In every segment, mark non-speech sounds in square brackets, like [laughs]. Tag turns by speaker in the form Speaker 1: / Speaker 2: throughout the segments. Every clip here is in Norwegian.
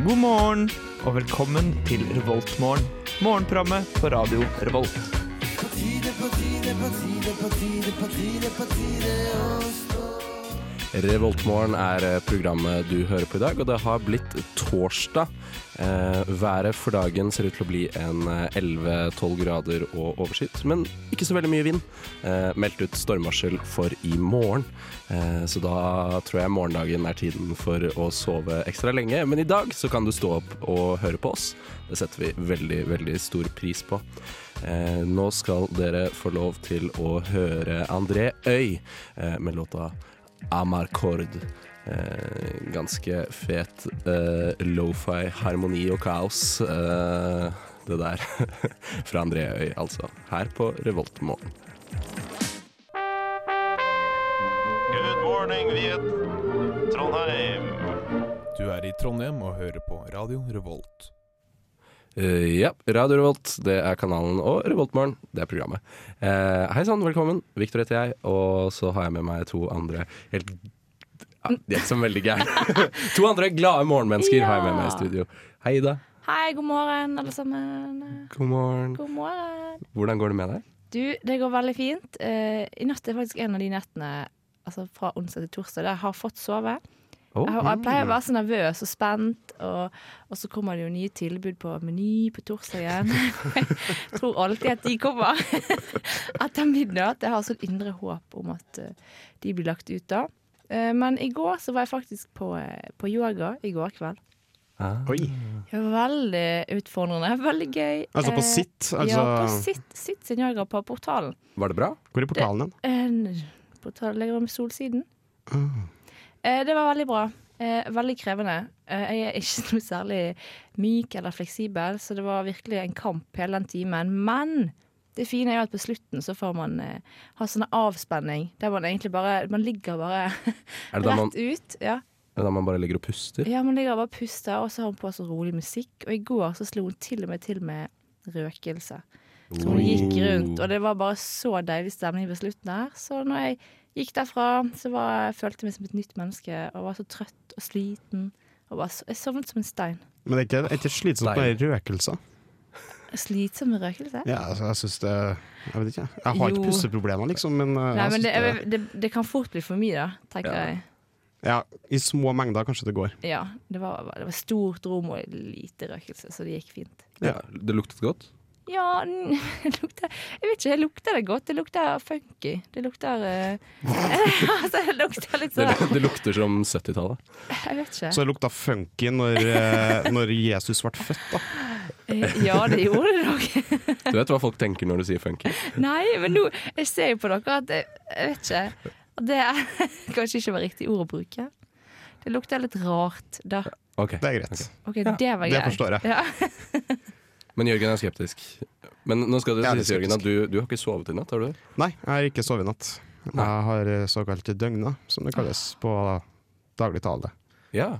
Speaker 1: morgen, og velkommen til Revoltmorgen. Morgenprogrammet på radio Revolt.
Speaker 2: Revoltmorgen er eh, programmet du hører på i dag, og det har blitt torsdag. Eh, været for dagen ser ut til å bli en eh, 11-12 grader og overskyet, men ikke så veldig mye vind. Eh, meldt ut stormvarsel for i morgen, eh, så da tror jeg morgendagen er tiden for å sove ekstra lenge. Men i dag så kan du stå opp og høre på oss. Det setter vi veldig, veldig stor pris på. Eh, nå skal dere få lov til å høre André Øy eh, med låta Amarcord. Eh, ganske fet eh, lo-fi harmoni og kaos. Eh, det der [laughs] fra André Øy, altså. Her på Revoltmorgen.
Speaker 3: Good morning, Viet. Trondheim.
Speaker 4: Du er i Trondheim og hører på Radio Revolt.
Speaker 2: Eh, ja, Radio Revolt, det er kanalen, og Revoltmorgen, det er programmet. Eh, Hei sann, velkommen. Victor heter jeg, og så har jeg med meg to andre helt ja, De er ikke så veldig gærne. [laughs] to andre glade morgenmennesker har jeg med meg i studio. Hei, Ida.
Speaker 5: Hei, god morgen, alle sammen.
Speaker 2: God morgen.
Speaker 5: God morgen.
Speaker 2: Hvordan går det med deg?
Speaker 5: Du, det går veldig fint. Eh, I natt er faktisk en av de nettene altså fra onsdag til torsdag der jeg har fått sove.
Speaker 2: Oh.
Speaker 5: Jeg, har, jeg pleier å være så nervøs og spent, og, og så kommer det jo nye tilbud på Meny på torsdag igjen. [laughs] jeg tror alltid at de kommer [laughs] etter midnatt. Jeg har sånn indre håp om at eh, de blir lagt ut da. Eh, Men i går så var jeg faktisk på, eh, på yoga i går kveld.
Speaker 2: Ah.
Speaker 6: Oi.
Speaker 5: Veldig utfordrende. Veldig gøy.
Speaker 6: Altså på
Speaker 5: Eh,
Speaker 6: sitt? Altså,
Speaker 5: Ja, på sitt, sitt sin yoga på portalen.
Speaker 2: Var det bra?
Speaker 6: Hvor er portalen hen?
Speaker 5: En portal ligger om solsiden.
Speaker 2: Ah.
Speaker 5: Eh, Det var veldig bra. Eh, Veldig krevende. Eh, Jeg er ikke [laughs] noe særlig myk eller fleksibel, så det var virkelig en kamp hele den timen. Men det fine er jo at på slutten så får man eh, ha sånn avspenning, der man egentlig bare Man ligger bare
Speaker 2: Er det da man
Speaker 5: rett ut. Ja.
Speaker 2: Det er da man bare ligger og puster.
Speaker 5: Ja, man ligger og bare puster, og så har hun på så rolig musikk. Og i går så slo hun til og med til med røkelse. Så hun gikk rundt, og det var bare så deilig stemning ved slutten her. Så når jeg gikk derfra, så var, jeg følte jeg meg som et nytt menneske, og var så trøtt og sliten. Og bare, så- jeg sovnet som en stein.
Speaker 6: Men det er ikke, er ikke slitsomt med røkelse?
Speaker 5: Slitsom med røkelse?
Speaker 6: Ja, altså, jeg syns det Jeg vet ikke. Jeg
Speaker 5: Jo.
Speaker 6: har ikke pusteproblemer, liksom, men, eh,
Speaker 5: Nei,
Speaker 6: jeg
Speaker 5: men
Speaker 6: synes
Speaker 5: det,
Speaker 6: det,
Speaker 5: jeg- det, det kan fort bli for mye, da, tenker
Speaker 2: Ja.
Speaker 5: jeg.
Speaker 6: ja, I små mengder kanskje det går.
Speaker 5: Ja, det var, det var stort rom og lite røkelse, så det gikk fint.
Speaker 2: Ja, det luktet godt.
Speaker 5: Ja, n- [laughs] lukter, jeg vet ikke, lukter det godt? Det lukter funky. Det lukter eh, [laughs] Altså, det lukter litt
Speaker 2: Det,
Speaker 5: sånn
Speaker 2: det lukter som 70-tallet.
Speaker 5: Jeg vet ikke.
Speaker 6: Så det lukta funky når,
Speaker 5: [laughs]
Speaker 6: eh, når Jesus ble født, da.
Speaker 5: Eh, Ja, det gjorde det nok. [laughs]
Speaker 2: Du vet hva folk tenker når du sier funky?
Speaker 5: Nei, men nå Jeg ser jo på dere at eh, Jeg vet ikke. Og Det er [laughs] kanskje ikke var riktig ord å bruke. Det lukter litt rart, da.
Speaker 2: Ok.
Speaker 6: Det er greit.
Speaker 5: OK, det var greit.
Speaker 6: det forstår jeg.
Speaker 5: Ja.
Speaker 2: Men Jørgen er skeptisk. Men nå skal det
Speaker 6: Jeg er
Speaker 2: sies, Jørgen, at du,
Speaker 6: skeptisk.
Speaker 2: du har ikke sovet i natt, har du?
Speaker 6: Nei, jeg har ikke sovet i natt.
Speaker 2: Nei.
Speaker 6: Jeg har eh, såkalt døgna, som det kalles på daglig tale.
Speaker 2: Ja.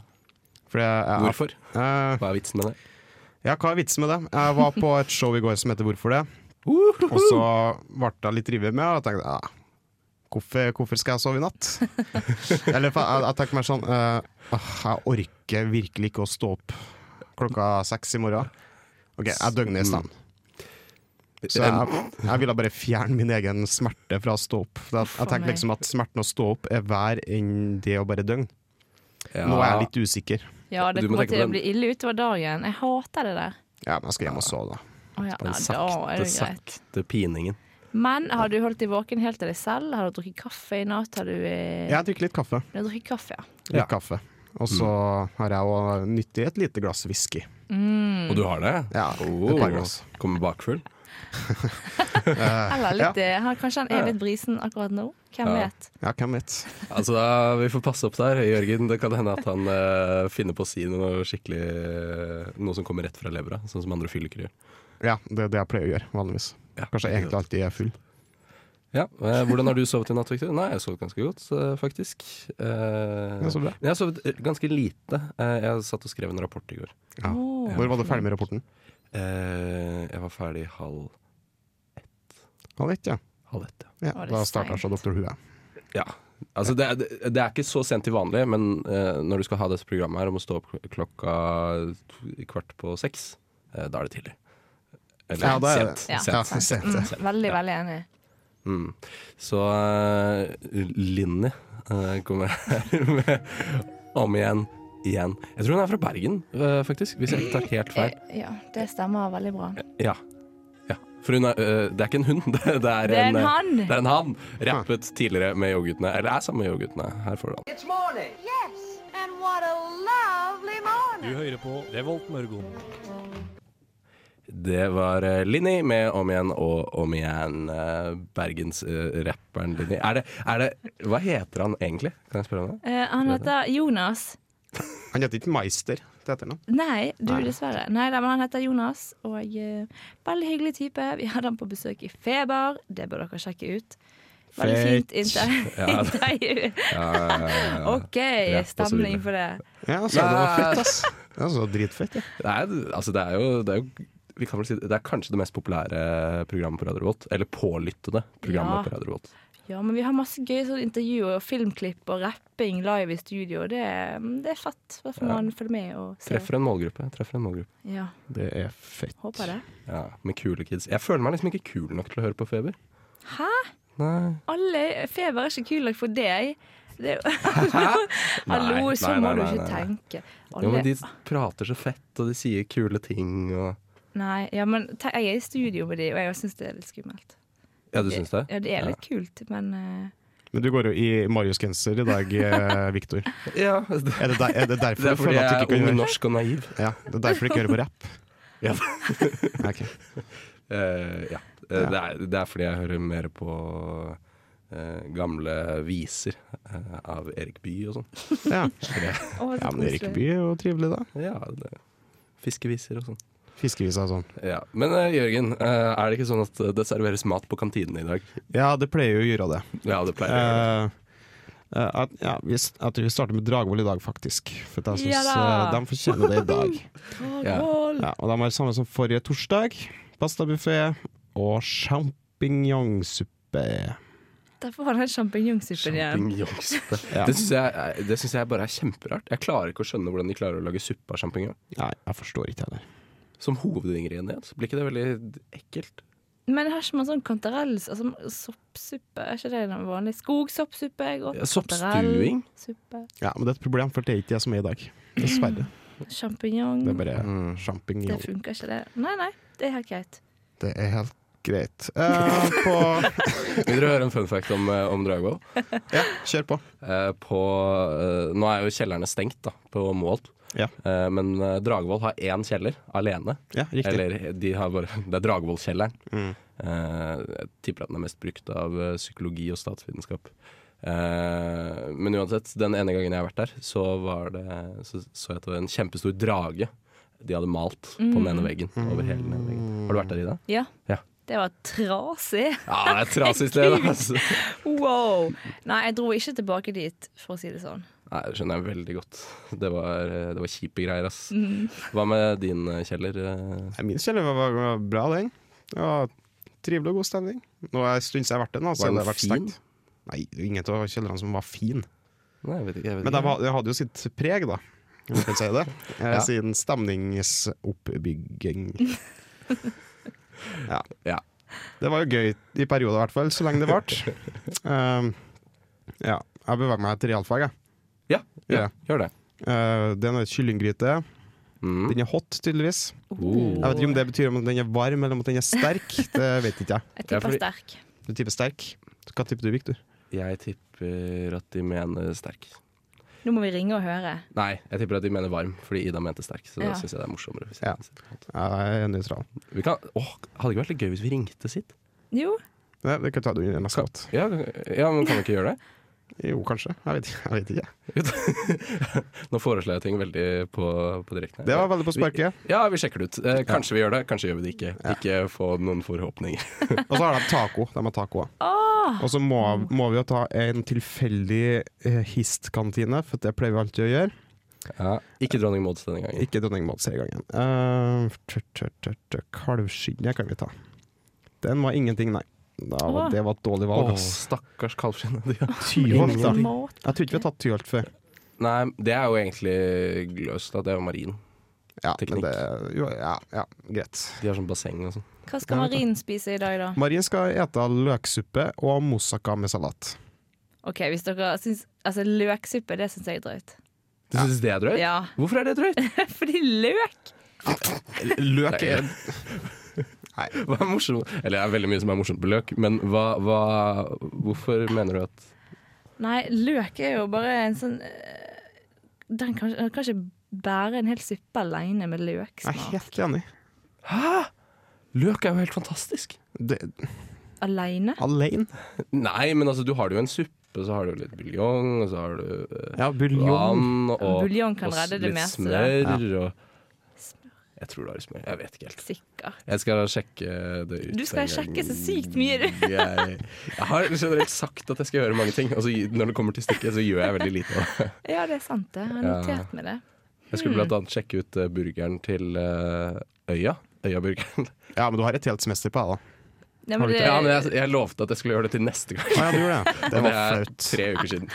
Speaker 6: For jeg, jeg,
Speaker 2: Hvorfor?
Speaker 6: Eh,
Speaker 2: Hva er vitsen med det?
Speaker 6: Ja, hva er vitsen med det? Jeg var på et show i går som heter Hvorfor det. Og så ble jeg litt revet med, og jeg tenkte ja, hvorfor, hvorfor skal jeg sove i natt? Eller for jeg, jeg tenkte meg sånn eh, «Åh, Jeg orker virkelig ikke å stå opp klokka seks i morgen. OK, jeg døgner i stedet. Så jeg, jeg ville bare fjerne min egen smerte fra å stå opp. For Jeg, jeg
Speaker 5: Faen meg.
Speaker 6: tenkte liksom at smerten å stå opp er verre enn det å bare døgne.
Speaker 2: Ja.
Speaker 6: Nå er jeg litt usikker.
Speaker 5: ja, det
Speaker 2: Du må
Speaker 5: kommer
Speaker 2: tenke på
Speaker 5: til å
Speaker 2: den.
Speaker 5: bli ille utover dagen. Jeg hater det der.
Speaker 6: Ja, men jeg skal hjem og sove, da.
Speaker 5: Å ja,
Speaker 2: Den
Speaker 5: ja, da er det
Speaker 2: sakte,
Speaker 5: jo greit. Mm.
Speaker 2: sakte piningen.
Speaker 5: Men har du holdt deg våken helt til deg selv? Har du drukket kaffe i natt? Har du eh,
Speaker 6: Jeg drikker litt kaffe.
Speaker 5: Du har drukket kaffe, ja.
Speaker 6: Litt
Speaker 2: Ja.
Speaker 6: kaffe. Og så har jeg òg nyttig et lite glass whisky.
Speaker 2: Og du har det?
Speaker 6: Ja,
Speaker 2: Oh, [laughs]
Speaker 6: et par glass.
Speaker 2: Kommer bakfull?
Speaker 5: Eller litt, eh, han- Kanskje han er litt brisen akkurat nå? Hvem
Speaker 2: Ja.
Speaker 5: vet?
Speaker 6: Ja, hvem vet.
Speaker 2: Altså, da, Vi får passe opp der, Jørgen. Det kan hende at han eh, finner på å si noe skikkelig eh, Noe som kommer rett fra levra, sånn som andre fylliker gjør.
Speaker 6: Ja, det er det jeg pleier å gjøre vanligvis.
Speaker 2: Ja.
Speaker 6: Kanskje jeg egentlig alltid er full.
Speaker 2: Ja, eh, Hvordan har du sovet i natt, Victor? Nei, jeg har sovet ganske godt, eh, faktisk. Eh,
Speaker 6: Ja, så bra.
Speaker 2: Jeg har sovet eh, ganske lite. Eh, jeg satt og skrev en rapport i går.
Speaker 6: Ja.
Speaker 5: Åh.
Speaker 6: Når var du ferdig med rapporten?
Speaker 2: Eh, jeg var ferdig halv,
Speaker 6: Halv ett, ja.
Speaker 2: halv ett.
Speaker 6: ja
Speaker 5: Var det
Speaker 6: da starta
Speaker 5: seint?
Speaker 6: så Doktor Hue.
Speaker 2: Ja. ja. Altså, det, er- det er ikke så sent til vanlig, men eh, når du skal ha dette programmet her og må stå opp kl- klokka t- kvart på seks, eh, da er det tidlig. Eller
Speaker 6: Ja, da er det-
Speaker 2: sent.
Speaker 5: Ja.
Speaker 2: sent.
Speaker 6: Ja, sent, ja.
Speaker 5: Mm, veldig, veldig enig.
Speaker 2: Mm. Så uh, Linni eh, kommer her [laughs] med om igjen, igjen. Jeg tror hun er fra Bergen, eh, faktisk, hvis jeg ikke tar helt feil.
Speaker 5: Eh, Ja, det stemmer veldig bra.
Speaker 2: Ja. ja. For hun er, eh, det er ikke en hund, [laughs] det, det, er,
Speaker 5: Det er en
Speaker 2: eh,
Speaker 5: hann.
Speaker 2: Det er en han. Rappet tidligere med Yoguttene. Eller er sammen med Yoguttene. Her får du han.
Speaker 7: Yes, and what a lovely morning.
Speaker 2: Det var eh, Linni med Om igjen og om igjen. eh, Bergensrapperen Linni. Er det, er det Hva heter han egentlig? Kan jeg spørre om det?
Speaker 5: Eh, han heter Jonas.
Speaker 6: Han heter ikke Meister til etternavn.
Speaker 5: Nei, du dessverre. Nei, da, men han heter Jonas, og eh, veldig hyggelig type. Vi hadde han på besøk i Feber, det bør dere sjekke ut. Veldig fint inter
Speaker 2: Ja.
Speaker 5: [laughs] intervju. OK,
Speaker 2: Rett på
Speaker 5: stemning
Speaker 2: svinet.
Speaker 5: for det.
Speaker 6: Ja, så det var fett, ass. Ja, så dritfett, ja.
Speaker 2: Det er, altså, det er jo, det er jo vi kan vel si, det Det er kanskje det mest populære programmet på Radio Revolt. Eller pålyttede programmet
Speaker 5: Ja.
Speaker 2: på Radio Revolt.
Speaker 5: Ja, men vi har masse gøye sånne intervjuer og filmklipp og rapping live i studio. og Det, er- mm, det er fett. Da får man følge med og se.
Speaker 2: Treffer en målgruppe. Treffer en målgruppe.
Speaker 5: Ja,
Speaker 6: Det er fett.
Speaker 5: håper det.
Speaker 2: Ja, Med kule kids. Jeg føler meg liksom ikke kul nok til å høre på Feber.
Speaker 5: Hæ?
Speaker 2: Nei.
Speaker 5: Alle Feber er ikke kul nok for deg. Det,
Speaker 2: [laughs] Nei,
Speaker 5: [laughs] Hallo,
Speaker 2: nei,
Speaker 5: sånn må
Speaker 2: nei,
Speaker 5: du
Speaker 2: nei, nei.
Speaker 5: ikke tenke.
Speaker 2: Jo, men
Speaker 5: Alle-
Speaker 2: de prater så fett, og de sier kule ting og
Speaker 5: Nei, ja, men te- jeg er i studio med de, og jeg syns det er litt skummelt.
Speaker 2: Ja, du syns det?
Speaker 5: Ja, det er litt kult, men eh,
Speaker 6: Men du går jo i Marius-genser i dag, eh, Victor.
Speaker 2: Ja. Det
Speaker 6: Er det, der, er det derfor
Speaker 2: er
Speaker 6: du
Speaker 2: fordi
Speaker 6: føler
Speaker 2: jeg
Speaker 6: at du
Speaker 2: er
Speaker 6: ikke
Speaker 2: ung,
Speaker 6: kan høre
Speaker 2: norsk og naiv.
Speaker 6: ja, Det er derfor du ikke hører på rapp?
Speaker 2: Ja.
Speaker 6: Ok.
Speaker 2: Eh, ja. Eh, Det, er, det er fordi jeg hører mer på eh, gamle viser eh, av Erik Bye og sånn.
Speaker 6: Ja.
Speaker 5: å, så
Speaker 6: ja, men Erik
Speaker 5: koselig.
Speaker 6: Bye er jo trivelig, da.
Speaker 2: Ja, det, fiskeviser og sånn.
Speaker 6: Fiskevisa og sånn.
Speaker 2: Ja. Men eh, Jørgen, eh, er det ikke sånn at det serveres mat på kantinene i dag?
Speaker 6: Ja, det pleier jo å gjøre det.
Speaker 2: Ja, det pleier å gjøre
Speaker 6: Eh, eh, at, ja, vi, s- at vi starter med Dragvoll i dag, faktisk. For jeg syns
Speaker 5: Ja da.
Speaker 6: de fortjener det i dag.
Speaker 5: Å,
Speaker 2: Ja.
Speaker 5: Gud.
Speaker 6: Ja, og de har samme som forrige torsdag. Pastabuffé og sjampinjongsuppe.
Speaker 5: Derfor har han sjampinjongsuppen igjen.
Speaker 2: Sjampinjongsuppe.
Speaker 6: Ja.
Speaker 2: [laughs] Det syns jeg, er- det synes jeg bare er kjemperart. Jeg klarer ikke å skjønne hvordan de klarer å lage suppe av sjampinjong.
Speaker 6: Nei, jeg forstår ikke heller.
Speaker 2: Som hovedingrediens. Blir ikke det veldig ekkelt?
Speaker 5: Men har ikke man sånn kantarells, altså soppsuppe, er ikke det noe vanlig? Skogsoppsuppe er godt.
Speaker 2: Ja, soppstuing?
Speaker 5: Kantarellsuppe.
Speaker 6: Ja, Men det er et problem, for det er ikke jeg som er i dag. Dessverre.
Speaker 5: Sjampinjong.
Speaker 6: Det er
Speaker 5: Det,
Speaker 6: bare sjampinjong.
Speaker 5: funker ikke, det. Nei, nei, det er helt greit.
Speaker 6: Det er helt greit. Eh, på [laughs]
Speaker 2: Vil dere høre en fun fact om, eh, om Dragvoll?
Speaker 6: Ja, kjør på.
Speaker 2: Eh, på, eh, nå er jo kjellerne stengt da, på Moholt.
Speaker 6: Ja.
Speaker 2: Eh, men eh, Dragvoll har én kjeller alene.
Speaker 6: Ja, riktig.
Speaker 2: Eller de har bare, [laughs] det er Dragvoll-kjelleren.
Speaker 6: Mm.
Speaker 2: Eh, jeg tipper at den er mest brukt av eh, psykologi og statsvitenskap. Eh, men uansett, den ene gangen jeg har vært der, så, var det, så, så jeg at det var en kjempestor drage de hadde malt på den ene veggen. Over hele den ene veggen. Har du vært der, Ida?
Speaker 5: Ja.
Speaker 2: Ja.
Speaker 5: Det var
Speaker 6: [laughs]
Speaker 5: trasig.
Speaker 2: Ja, det er et trasig sted. Altså.
Speaker 5: Wow. Nei, jeg dro ikke tilbake dit, for å si det sånn.
Speaker 2: Nei, det skjønner jeg veldig godt. Det var, eh, det var kjipe greier, ass. Hva med din, eh, Kjeller? Eh,
Speaker 6: Nei, Min kjeller var, var bra, den. Det var Trivelig og god stemning. Nå er det en stund siden jeg har vært der. nå,
Speaker 2: Var
Speaker 6: siden
Speaker 2: den
Speaker 6: det har vært
Speaker 2: fin?
Speaker 6: stengt. Nei, det er ingen av kjellerne som var fin.
Speaker 2: Nei, jeg vet ikke. Jeg vet
Speaker 6: Men det
Speaker 2: ikke.
Speaker 6: var- det hadde jo sitt preg, da. Om man kan si
Speaker 2: [laughs]
Speaker 6: det. Eh,
Speaker 2: Ja.
Speaker 6: Siden stemningsoppbygging. Ja.
Speaker 2: Ja.
Speaker 6: Det var jo gøy i perioder, i hvert fall. Så lenge det varte. Um, ja. Jeg beveger meg til realfag, jeg.
Speaker 2: Ja, ja,
Speaker 6: Ja.
Speaker 2: gjør det.
Speaker 6: Eh, det er en kyllinggryte.
Speaker 2: Mm.
Speaker 6: Den er hot, tydeligvis.
Speaker 2: Oh.
Speaker 6: Jeg vet ikke om det betyr om at den er varm eller om at den er sterk. Det vet ikke jeg.
Speaker 5: Jeg
Speaker 2: Ja,
Speaker 5: tipper
Speaker 2: fordi-
Speaker 5: sterk.
Speaker 6: Du tipper sterk. Hva tipper du, Victor?
Speaker 2: Jeg tipper at de mener sterk.
Speaker 5: Nå må vi ringe og høre.
Speaker 2: Nei, jeg tipper at de mener varm, fordi Ida mente sterk. Så
Speaker 5: Ja.
Speaker 2: da syns jeg det er morsommere. Hvis
Speaker 6: Ja.
Speaker 2: jeg
Speaker 6: Jeg er nøytral.
Speaker 2: vi kan, åh, hadde ikke vært litt gøy hvis vi ringte sitt?
Speaker 5: Jo,
Speaker 6: Nei, det kan vi ta det under neste låt.
Speaker 2: Ja, ja, men kan vi ikke gjøre det? [laughs]
Speaker 6: Jo, kanskje. Jeg vet, jeg vet [laughs] ikke.
Speaker 2: Nå foreslår jeg ting veldig på, på direkten. her.
Speaker 6: Det var veldig på sparket.
Speaker 2: Ja, vi sjekker det ut. Eh, kanskje vi gjør det, kanskje gjør vi det ikke. Ikke få noen forhåpninger.
Speaker 6: Og så har de taco. De har taco også. Og så må, må vi jo ta en tilfeldig eh, histkantine, for det pleier vi alltid å gjøre.
Speaker 2: Ja. Ikke Dronning Mauds denne gangen.
Speaker 6: Ikke dronning Maud seriegangen. Eh, Uh, Kalvskinnet kan vi ta. Den var ingenting, nei. Da, var-
Speaker 5: Åh.
Speaker 6: det var et dårlig valg.
Speaker 2: Å,
Speaker 6: ass.
Speaker 2: stakkars kalvskinnet. de har-
Speaker 6: Tyholt, da.
Speaker 5: Ingen måte.
Speaker 6: Jeg tror ikke vi har tatt tyholt før.
Speaker 2: [laughs] Nei, det er jo egentlig gløst. Da. Det er jo marin.
Speaker 6: Ja, men
Speaker 2: Teknikk.
Speaker 6: det, jo, ja, ja, greit.
Speaker 2: De har sånn basseng og sånn.
Speaker 5: Hva skal Marin spise i dag, da?
Speaker 6: Marin skal ete løksuppe og moussaka med salat.
Speaker 5: Ok, hvis dere syns, altså Løksuppe, det syns jeg er drøyt.
Speaker 2: Du syns det er drøyt?
Speaker 5: Ja, [laughs]
Speaker 2: Hvorfor er det drøyt?
Speaker 5: Fordi løk!
Speaker 6: Løk er Nei.
Speaker 2: [laughs] Hva er morsomt? Eller det er veldig mye som er morsomt på løk, men hva, hva Hvorfor mener du at
Speaker 5: Nei, løk er jo bare en sånn eh, Den kan, den kan ikke bære en hel suppe alene med
Speaker 6: Jeg er
Speaker 5: løksmak.
Speaker 6: helt enig.
Speaker 2: Løk er jo helt fantastisk.
Speaker 6: Det,
Speaker 5: Alene?
Speaker 6: alene?
Speaker 2: Nei, men altså, du har det jo i en suppe, så har du litt buljong, og så har du eh,
Speaker 6: Ja, buljong.
Speaker 2: vann og,
Speaker 5: Buljong kan
Speaker 2: og s-
Speaker 5: redde det
Speaker 2: litt
Speaker 5: meste,
Speaker 2: smør
Speaker 6: da.
Speaker 2: og Jeg tror det er smør. Jeg vet ikke helt.
Speaker 5: Sikkert.
Speaker 2: Jeg skal sjekke det ut.
Speaker 5: Du skal
Speaker 2: en gang. Mm,
Speaker 5: sjekke så sykt mye, du.
Speaker 2: Jeg, jeg har generelt sagt at jeg skal gjøre mange ting, og så når det kommer til stykket, så gjør jeg veldig lite av det.
Speaker 5: Ja, det er sant, det. Jeg har
Speaker 2: Ja.
Speaker 5: notert meg det.
Speaker 2: Jeg
Speaker 5: Mm.
Speaker 2: skulle blant annet sjekke ut eh, burgeren til eh, Øya.
Speaker 5: [laughs]
Speaker 2: Øya-burgeren.
Speaker 6: Ja, men du har et helt semester på
Speaker 2: [laughs]
Speaker 6: deg, da.
Speaker 5: Ja,
Speaker 6: Har
Speaker 5: men
Speaker 6: du
Speaker 5: det
Speaker 2: Ja, men jeg, jeg lovte at jeg skulle gjøre det til neste gang.
Speaker 6: Ah, ja, du gjorde det. Det
Speaker 2: Og
Speaker 6: var
Speaker 2: er
Speaker 6: flaut.
Speaker 2: tre uker siden.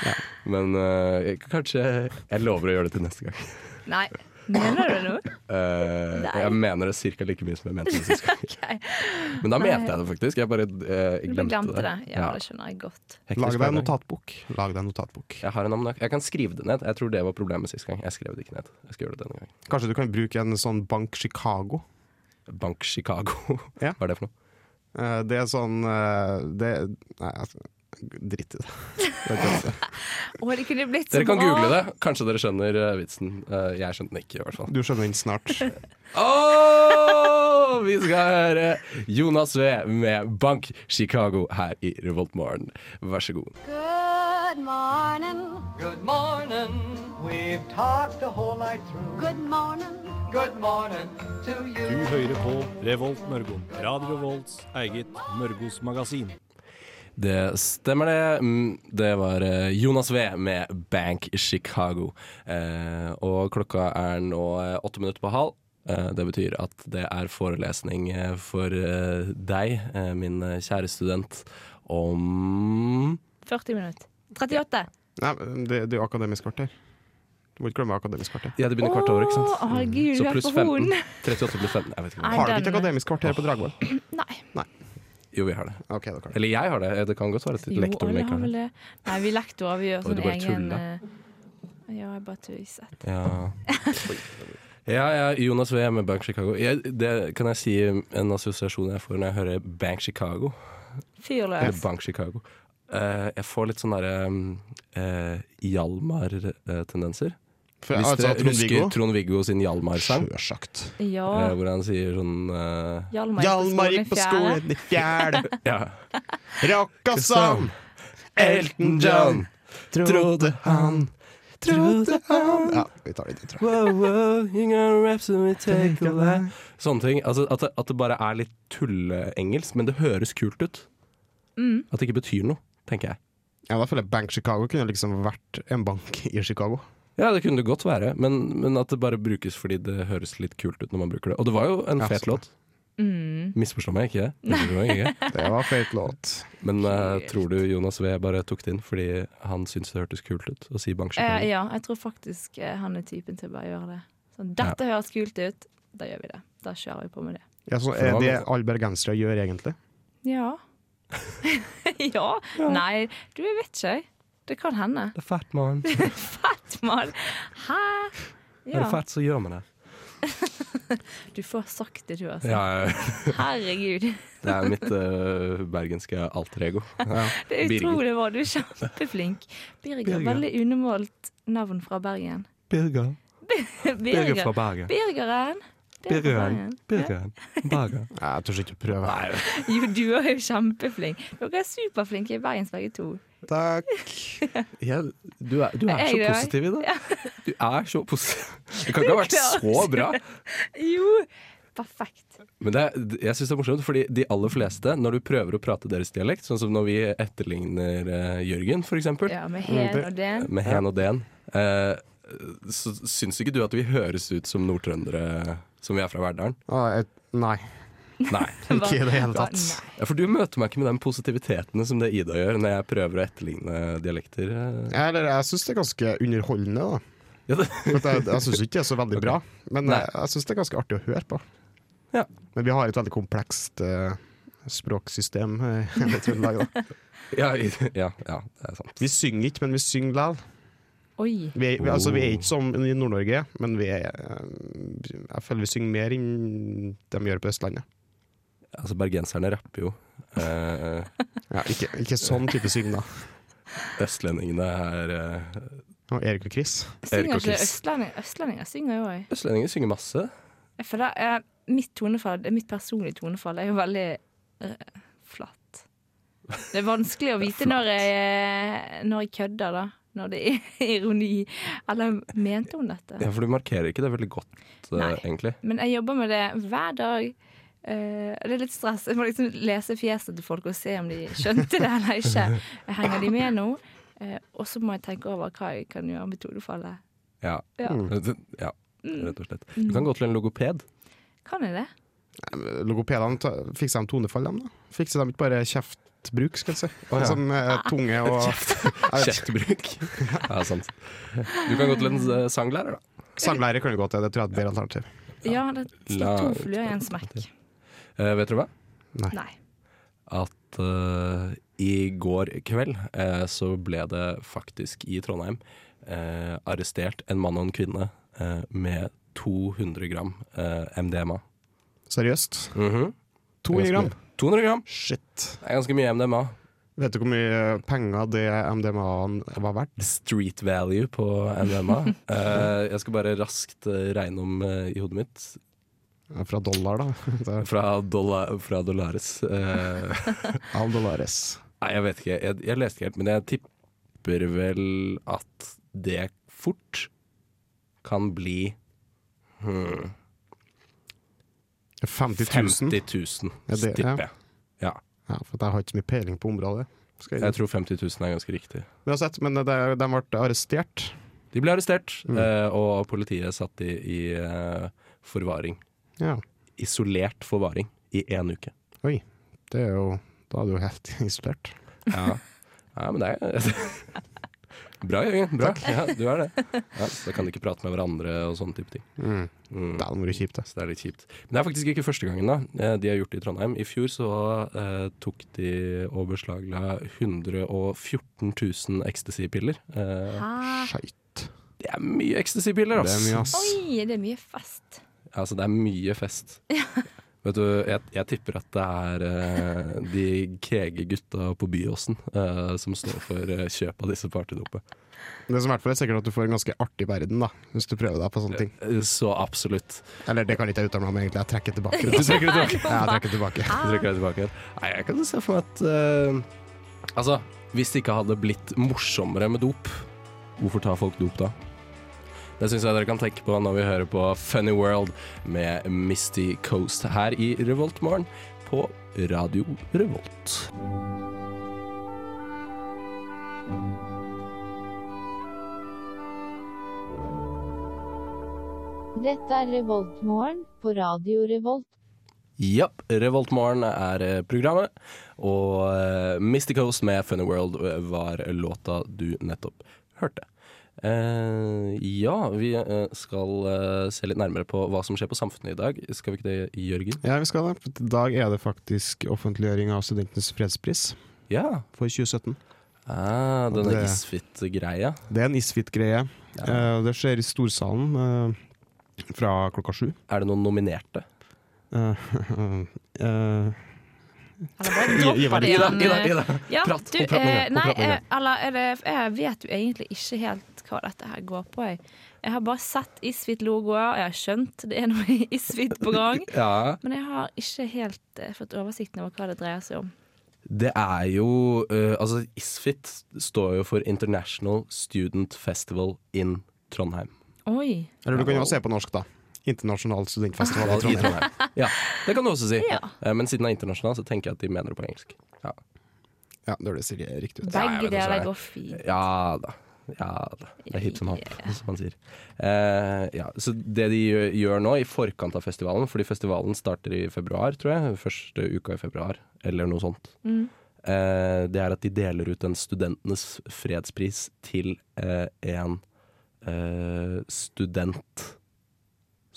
Speaker 2: Men eh, jeg- kanskje jeg lover å gjøre det til neste gang.
Speaker 5: Nei, mener du noe?
Speaker 2: Eh,
Speaker 5: Nei.
Speaker 2: jeg mener det cirka like mye som jeg mente det sist gang.
Speaker 5: [laughs] Ok.
Speaker 2: Men da mente
Speaker 5: Nei.
Speaker 2: jeg det faktisk. [laughs] Jeg bare eh,
Speaker 5: Du
Speaker 2: glemte,
Speaker 5: glemte det. Ja,
Speaker 2: Ja.
Speaker 5: det skjønner jeg godt.
Speaker 2: Hektisk
Speaker 6: Lag deg en
Speaker 2: hverdag.
Speaker 6: notatbok. Lag deg en notatbok.
Speaker 2: Jeg har en almanakk. Jeg kan skrive det ned. Jeg tror det var problemet sist gang. Jeg skrev det ikke ned. Jeg skal gjøre det denne gangen.
Speaker 6: Kanskje du kan bruke en sånn Bank Chicago.
Speaker 2: Bank Chicago. [laughs]
Speaker 6: Ja.
Speaker 2: Hva er det for noe?
Speaker 6: Eh, Det er sånn eh, Det Nei, altså, dritt i det. Det er ikke-
Speaker 5: Å, det kunne blitt så
Speaker 2: Dere kan
Speaker 5: bra!
Speaker 2: google det. Kanskje dere skjønner eh, vitsen. Eh, jeg skjønte den ikke, i hvert fall.
Speaker 6: Du skjønner den snart.
Speaker 2: Åh, vi skal høre Jonas V med Bank Chicago her i Revoltmorgen. Vær så god.
Speaker 7: Good morning.
Speaker 8: Good morning. We've talked the whole night through.
Speaker 7: Good morning.
Speaker 8: Good morning to you.
Speaker 9: Du hører på Revolt Mørgon. Radio Revolts eget Mørgos magasin.
Speaker 2: Det stemmer det. Mm, Det var eh, Jonas V med Bank Chicago. Eh, og klokka er nå eh, åtte minutter på halv. Eh, det betyr at det er forelesning eh, for eh, deg, eh, min eh, kjære student, om
Speaker 5: 40 minutter. 38.
Speaker 6: Nei, men det, det er jo Akademisk kvarter. Du må ikke glemme Akademisk kvarter.
Speaker 2: Ja, det begynner hvert år, ikke sant?
Speaker 5: Å, herregud,
Speaker 2: Så
Speaker 5: du er
Speaker 2: pluss
Speaker 5: på
Speaker 2: 15.
Speaker 5: horn.
Speaker 2: 38 blir 15. Jeg vet ikke hva.
Speaker 5: Nei,
Speaker 6: Har dere ikke
Speaker 5: den-
Speaker 6: Akademisk kvarter på Dragvoll?
Speaker 5: Nei.
Speaker 2: Jo, vi har det.
Speaker 6: Ok, da kan vi.
Speaker 2: Eller jeg har det. Det kan godt være at
Speaker 5: Jo,
Speaker 2: lektor
Speaker 5: alle har
Speaker 2: maker
Speaker 5: vel
Speaker 2: det.
Speaker 5: det. Nei, vi lektorer vi gjør
Speaker 2: Oi, du
Speaker 5: sånn
Speaker 2: bare
Speaker 5: egen
Speaker 2: tuller.
Speaker 5: eh, Ja, jeg bare tøyset.
Speaker 2: Ja. [laughs] ja, ja, Jonas V med Bank Chicago. Jeg, det kan jeg si en assosiasjon jeg får når jeg hører Bank Chicago.
Speaker 5: Fyr
Speaker 2: Eller
Speaker 5: løs.
Speaker 2: Bank Chicago. Eh, jeg får litt sånne derre eh, Hjalmar-tendenser.
Speaker 6: For,
Speaker 2: Hvis
Speaker 6: altså,
Speaker 2: dere husker
Speaker 6: Trond-Viggo?
Speaker 2: Trond-Viggo sin Hjalmar-sang,
Speaker 6: Sjølsagt.
Speaker 5: Ja.
Speaker 2: eh, hvor han sier sånn eh,
Speaker 5: Hjalmar
Speaker 6: Hjalmar
Speaker 5: gikk på skolen i fjerde.
Speaker 6: i fjerde.
Speaker 5: [laughs]
Speaker 2: Ja.
Speaker 6: Rocka
Speaker 2: sang. Elton John, trodde han, trodde han
Speaker 6: Ja, vi tar det dit, tror jeg.
Speaker 2: Wow, wow, you gonna rap so we take a lap. Sånne ting. Altså, at, det, at det bare er litt tulleengelsk, men det høres kult ut.
Speaker 5: Mm.
Speaker 2: At det ikke betyr noe, tenker jeg.
Speaker 6: Ja, da føler jeg Bank Chicago kunne liksom vært en bank i Chicago.
Speaker 2: Ja, det kunne det godt være, men, men at det bare brukes fordi det høres litt kult ut når man bruker det. Og det var jo en
Speaker 6: Ja,
Speaker 2: fet
Speaker 6: sånn.
Speaker 2: låt.
Speaker 5: Eh,
Speaker 2: Misforstå meg [laughs] ikke, misforstå meg ikke.
Speaker 6: Det var feit låt.
Speaker 2: Men eh, tror du Jonas V bare tok det inn fordi han syntes det hørtes kult ut å si
Speaker 5: Eh,
Speaker 2: banksjekk?
Speaker 5: ja, jeg tror faktisk eh, han er typen til å bare gjøre det. Sånn, dette høres kult ut, da gjør vi det. Da kjører vi på med det.
Speaker 6: Ja, så
Speaker 2: For
Speaker 6: er
Speaker 2: hva
Speaker 6: det
Speaker 2: da?
Speaker 6: alle bergensere gjør, egentlig?
Speaker 5: Ja. [laughs] ja. Nei, du, jeg vet ikke. jeg. Det kan
Speaker 2: [laughs]
Speaker 5: hende.
Speaker 2: Det er fett, mann.
Speaker 5: Fett, mann! Hæ?
Speaker 2: Er det
Speaker 5: Ja.
Speaker 2: fett, så gjør man det.
Speaker 5: Du får sagt det, du, altså.
Speaker 2: Ja, ja, [laughs] ja.
Speaker 5: [laughs] Herregud.
Speaker 2: det er mitt eh, bergenske alter ego.
Speaker 5: Det er
Speaker 2: Birger.
Speaker 5: utrolig bra. Du er kjempeflink. Birger. Veldig unormalt navn fra Bergen.
Speaker 2: Birger. Birger
Speaker 5: Birger.
Speaker 2: fra Bergen.
Speaker 5: Birgeren. Det er fra
Speaker 2: Birgeren.
Speaker 5: Bergen.
Speaker 2: Birgeren. Bergen.
Speaker 6: Nei, Jeg tør ikke prøve.
Speaker 5: [laughs] Jo, du er jo kjempeflink. Dere er superflinke i Bergens begge to.
Speaker 6: Takk.
Speaker 2: du er, du er
Speaker 5: Jeg
Speaker 2: så
Speaker 5: er det.
Speaker 2: positiv i det. Du er så positiv. [laughs] Det kan ikke ha vært så bra.
Speaker 5: Jo! Perfekt.
Speaker 2: Men det, er- jeg syns det er morsomt, fordi de aller fleste, når du prøver å prate deres dialekt, sånn som når vi etterligner eh, Jørgen, for eksempel,
Speaker 5: Ja, med hen og den.
Speaker 2: med hen og den, eh, så syns ikke du at vi høres ut som nordtrøndere som vi er fra Verdalen?
Speaker 6: Å, jeg, nei.
Speaker 2: Nei.
Speaker 6: Ikke i det hele
Speaker 5: Bare,
Speaker 6: tatt.
Speaker 5: Nei.
Speaker 2: Ja, For du møter meg ikke med den positiviteten som det Ida gjør, når jeg prøver å etterligne dialekter. eh.
Speaker 6: Eller, jeg syns det er ganske underholdende, da.
Speaker 2: Ja, det,
Speaker 6: For at jeg jeg syns ikke det er så veldig bra, men
Speaker 2: Nei.
Speaker 6: jeg, jeg syns det er ganske artig å høre på.
Speaker 2: Ja.
Speaker 6: Men vi har et veldig komplekst eh, språksystem eh, [laughs] i hele Trøndelag. da.
Speaker 2: ja, i- [laughs] ja, ja, det er sant.
Speaker 6: Vi synger ikke, men vi synger likevel.
Speaker 5: Oi.
Speaker 6: Vi, er- vi, altså, vi er ikke som i Nord-Norge, men vi er, eh, jeg føler vi synger mer enn de gjør på Østlandet.
Speaker 2: Altså, bergenserne rapper jo. Eh,
Speaker 6: Ja, ikke, ikke sånn type syng, da.
Speaker 2: østlendingene er eh,
Speaker 6: [laughs] Og Erik og Chris.
Speaker 2: Erik
Speaker 5: Synger
Speaker 2: og
Speaker 5: ikke
Speaker 2: Chris.
Speaker 5: østlendinger? Østlendinger synger jo òg.
Speaker 2: Østlendinger synger masse.
Speaker 5: Jeg føler eh, mitt tonefall, det er mitt personlige tonefall er jo veldig eh, flatt. Det er vanskelig å vite når jeg, eh, når jeg kødder, da. Når det er ironi. Eller mente hun
Speaker 2: Ja,
Speaker 5: dette?
Speaker 2: For du markerer ikke det veldig godt, eh,
Speaker 5: Nei.
Speaker 2: egentlig.
Speaker 5: Men jeg jobber med det hver dag. Eh, det er litt stress. Jeg må liksom lese fjeset til folk og se om de skjønte det eller ikke. Henger de med nå? Eh, og så må jeg tenke over hva jeg kan gjøre med tonefallet.
Speaker 2: Ja.
Speaker 5: Ja.
Speaker 2: Det- [laughs] ja, rett og slett. Du kan gå til en logoped.
Speaker 5: Kan jeg det?
Speaker 6: Logopedene ta- fikser de tonefall, dem, da? Fikser de ikke bare kjeftbruk, skal jeg si?
Speaker 2: Å, ja.
Speaker 6: Sånn eh, tunge og Jeg vet ikke.
Speaker 2: Kjeftbruk. [laughs] Ja, sant. Du kan gå til en eh, sanglærer, da.
Speaker 6: Sanglærer kan du gå til, det tror jeg er et bedre alternativ.
Speaker 5: Ja, det
Speaker 2: La-
Speaker 5: slår to fluer i en smekk.
Speaker 2: Eh, vet du hva?
Speaker 5: Nei.
Speaker 2: at eh, i går kveld eh, så ble det faktisk i Trondheim eh, arrestert en mann og en kvinne eh, med 200 gram eh, MDMA.
Speaker 6: Seriøst?
Speaker 2: Mhm.
Speaker 6: 200 gram?
Speaker 2: 200 gram!
Speaker 6: Shit.
Speaker 2: Det er ganske mye MDMA.
Speaker 6: Vet du hvor mye penger det MDMA-en var verdt?
Speaker 2: Street value på MDMA. Eh, jeg skal bare raskt eh, regne om eh, i hodet mitt.
Speaker 6: Fra dollar, da. [laughs] Det er
Speaker 2: Fra, dolla- fra dollares. Eh, [laughs]
Speaker 6: All dollares.
Speaker 2: Nei, jeg vet ikke. Jeg, jeg leste ikke helt, men jeg tipper vel at det fort kan bli hmm,
Speaker 6: 50 000?
Speaker 2: 50 000,
Speaker 6: Ja, det-
Speaker 2: tipper jeg. Ja,
Speaker 6: Ja, for jeg har ikke så mye peiling på området. Skal jeg
Speaker 2: jeg tror 50 000 er ganske riktig.
Speaker 6: Uansett, men eh, det, de ble arrestert.
Speaker 2: De ble arrestert,
Speaker 6: Mm.
Speaker 2: eh, og politiet satt de i eh, forvaring.
Speaker 6: Ja,
Speaker 2: Isolert forvaring i én uke.
Speaker 6: det er jo Da er du jo helt [laughs] isolert.
Speaker 2: Ja, ja men det er [laughs] Bra, Jørgen. Bra. Ja, du er det. Ja, da kan de ikke prate med hverandre og sånne type ting.
Speaker 6: Mm.
Speaker 2: Mm.
Speaker 6: Det hadde vært kjipt, det.
Speaker 2: Så det er litt kjipt. Men det er faktisk ikke første gangen da. Eh, de har gjort det i Trondheim. I fjor så eh, tok de og beslagla 114 000 ecstasy-piller. Eh,
Speaker 5: Ah,
Speaker 6: Skeit.
Speaker 2: det er mye ecstasy-piller,
Speaker 6: Det
Speaker 2: ass!
Speaker 6: er mye, ass.
Speaker 5: oi, det er mye fest.
Speaker 2: Altså, det er mye
Speaker 6: [laughs]
Speaker 2: fest. Vet du, jeg, jeg tipper at det er eh, de keege gutta på Byåsen eh, som står for eh, kjøp av disse partydopene.
Speaker 6: Det som i hvert fall er sikkert at du får en ganske artig verden, da, hvis du prøver deg på sånne ting.
Speaker 2: Eh, Så absolutt.
Speaker 6: Eller det kan ikke jeg uttale meg om, egentlig. Jeg trekker tilbake.
Speaker 2: Du trekker det tilbake.
Speaker 6: [laughs] Ja, jeg trekker tilbake.
Speaker 2: Jeg trekker deg tilbake. Nei, jeg kan se for meg at eh, Altså, hvis det ikke hadde blitt morsommere med dop, hvorfor tar folk dop da? Det syns jeg dere kan tenke på når vi hører på Funny World med Misty Coast her i Revoltmorgen på Radio Revolt.
Speaker 10: Dette er Revoltmorgen på Radio Revolt.
Speaker 2: Japp, Revoltmorgen er eh, programmet. Og eh, Misty Coast med Funny World eh, var låta du nettopp hørte. Eh, ja, vi eh, skal eh, se litt nærmere på hva som skjer på samfunnet i dag. Skal vi ikke det, Jørgen?
Speaker 6: Ja, vi skal det. For I dag er det faktisk offentliggjøring av Studentenes fredspris
Speaker 2: Ja.
Speaker 6: for 2017.
Speaker 2: Ah, denne
Speaker 6: Det-
Speaker 2: isfit-greia.
Speaker 6: Det er en isfit-greie. Eh, det skjer i Storsalen eh, fra klokka sju.
Speaker 2: Er det noen nominerte?
Speaker 6: Eh, eh, [laughs]
Speaker 5: Eller bare dropper det igjen.
Speaker 2: Ida!
Speaker 5: Ja,
Speaker 2: Prat,
Speaker 5: du,
Speaker 2: hun prater med
Speaker 5: eh,
Speaker 2: Ida, hun
Speaker 5: nei,
Speaker 2: prater med
Speaker 5: eh, eller er det, jeg vet jo egentlig ikke helt hva dette her går på. Jeg, jeg har bare sett Isfit-logoer, jeg har skjønt det er noe [laughs] Isfit på gang.
Speaker 2: [laughs] Ja,
Speaker 5: Men jeg har ikke helt eh, fått oversikten over hva det dreier seg om.
Speaker 2: det er jo eh, Altså, ISFIT står jo for International Student Festival in Trondheim.
Speaker 5: Oi.
Speaker 6: eller du kan jo se på norsk, da. Internasjonal studentfestival i
Speaker 2: Festival i
Speaker 6: Trondheim.
Speaker 2: Trondheim. Ja, det kan du også si.
Speaker 5: Ja.
Speaker 2: Eh, Men siden det er internasjonal, så tenker jeg at de mener det på engelsk. Ja,
Speaker 6: Ja, det høres riktig
Speaker 2: Ja, altså,
Speaker 6: ut.
Speaker 2: jeg
Speaker 5: Begge
Speaker 2: vet ikke hva det
Speaker 5: deler
Speaker 2: er.
Speaker 5: går fint.
Speaker 2: ja da. Ja, det er hipp som happ, som man sier. Eh, ja, så det de gjør, gjør nå, i forkant av festivalen, fordi festivalen starter i februar, tror jeg, første uka i februar, eller noe sånt,
Speaker 5: Mm.
Speaker 2: eh, det er at de deler ut en studentenes fredspris til eh, en eh, student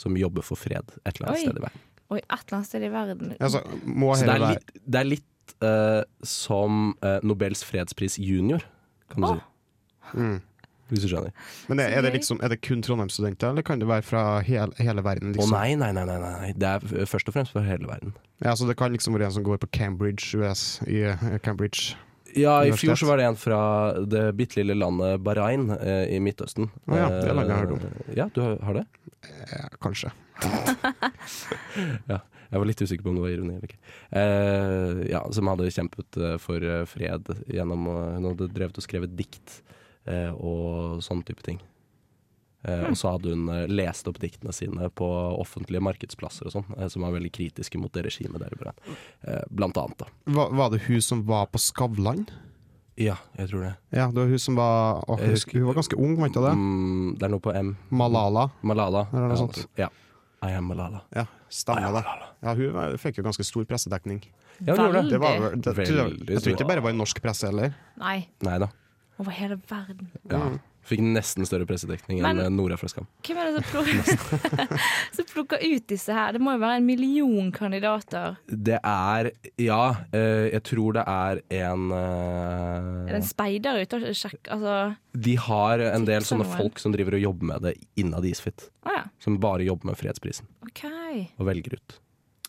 Speaker 2: som jobber for fred et eller annet
Speaker 5: Oi.
Speaker 2: sted i verden.
Speaker 5: Og i et eller annet sted i verden
Speaker 6: Altså, må
Speaker 2: Så det
Speaker 6: hele
Speaker 2: er
Speaker 6: være
Speaker 2: litt, det er litt eh, som eh, Nobels fredspris junior, kan du
Speaker 5: Å.
Speaker 2: si. Hvis du skjønner.
Speaker 6: mm. Men er, er, det
Speaker 5: gøy.
Speaker 6: liksom, er det kun Trondheim-studenter, eller kan det være fra hel, hele verden?
Speaker 2: Å
Speaker 6: Liksom?
Speaker 2: nei, nei, nei, nei, nei. Det er f- først og fremst for hele verden.
Speaker 6: Ja, så det kan liksom være en som går på Cambridge US i eh, Cambridge.
Speaker 2: Ja, i
Speaker 6: Universitet.
Speaker 2: fjor så var det en fra det bitte lille landet Bahrain eh, i Midtøsten.
Speaker 6: Å ja, det landet jeg har hørt
Speaker 2: Eh, Ja, du har, har det?
Speaker 6: Ja, kanskje.
Speaker 2: Jeg var litt usikker på om det var ironi eller ikke. Eh, ja, som hadde kjempet eh, for eh, fred gjennom eh, Hun hadde drevet og skrevet dikt eh, og sånne type ting. Eh, Og så hadde hun eh, lest opp diktene sine på offentlige markedsplasser og sånn, eh, som var veldig kritiske mot det regimet der i Bahrain. Eh, blant annet, da.
Speaker 6: Var, var det hun som var på Skavlan?
Speaker 2: Ja, jeg tror det.
Speaker 6: Ja, det var hun som var å,
Speaker 2: Jeg
Speaker 6: hun,
Speaker 2: husker-
Speaker 6: hun var ganske ung, var ikke det?
Speaker 2: Mm, det er noe på M.
Speaker 6: Malala.
Speaker 2: Malala.
Speaker 6: Eller noe
Speaker 2: Ja,
Speaker 6: sånt.
Speaker 2: Ja. I am Malala.
Speaker 6: Ja, stemmer det. Ja, hun var- fikk jo ganske stor pressedekning.
Speaker 2: Ja, hun gjorde det.
Speaker 6: Det var, vel- det,
Speaker 2: Veldig
Speaker 6: tror jeg, jeg tror
Speaker 2: stor.
Speaker 6: ikke det bare var i norsk presse heller.
Speaker 5: Nei,
Speaker 2: Nei da.
Speaker 5: over hele verden.
Speaker 2: Ja. Fikk nesten større pressedekning
Speaker 5: Men-
Speaker 2: enn eh, Nora fra Skam.
Speaker 5: Hvem er det som plukker, som plukker ut [laughs] disse her? Det må jo være en million kandidater.
Speaker 2: Det er Ja, eh, jeg tror det er en
Speaker 5: Er det
Speaker 2: eh,
Speaker 5: en speider ute og sjekker Altså,
Speaker 2: De har en del
Speaker 5: Tipsa
Speaker 2: sånne
Speaker 5: noen.
Speaker 2: folk som driver og jobber med det innad i Isfit.
Speaker 5: å ja.
Speaker 2: Som bare jobber med fredsprisen
Speaker 5: OK.
Speaker 2: og velger ut.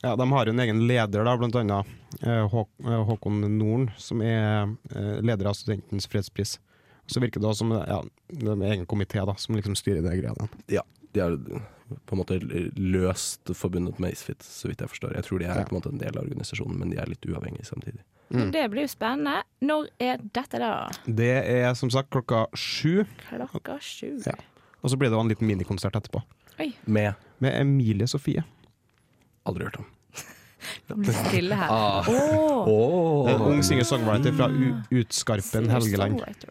Speaker 6: Ja, De har jo en egen leder, da, blant annet eh, Hå eh, Håkon Noren, som er eh, leder av Studentens fredspris. Så virker det også som ja, det er en egen komité da, som liksom styrer det greia. der.
Speaker 2: Ja. De er på en måte løst forbundet med Isfit, så vidt jeg forstår. Jeg tror de er
Speaker 6: Ja.
Speaker 2: på en måte en del av organisasjonen, men de er litt uavhengige samtidig.
Speaker 5: Så
Speaker 6: Mm.
Speaker 5: det blir jo spennende. Når er dette, da?
Speaker 6: Det er som sagt klokka sju,
Speaker 5: Klokka sju.
Speaker 6: Ja. og så blir det jo en liten minikonsert etterpå.
Speaker 2: Med
Speaker 6: Med Emilie Sofie.
Speaker 2: Aldri hørt om.
Speaker 5: Det blir stille her.
Speaker 2: Ah.
Speaker 5: Åh,
Speaker 2: Oh.
Speaker 6: En Eh, ung singer-songwriter fra U Utskarpen,
Speaker 2: Mm.
Speaker 6: Helgeland.
Speaker 5: singer-songwriter.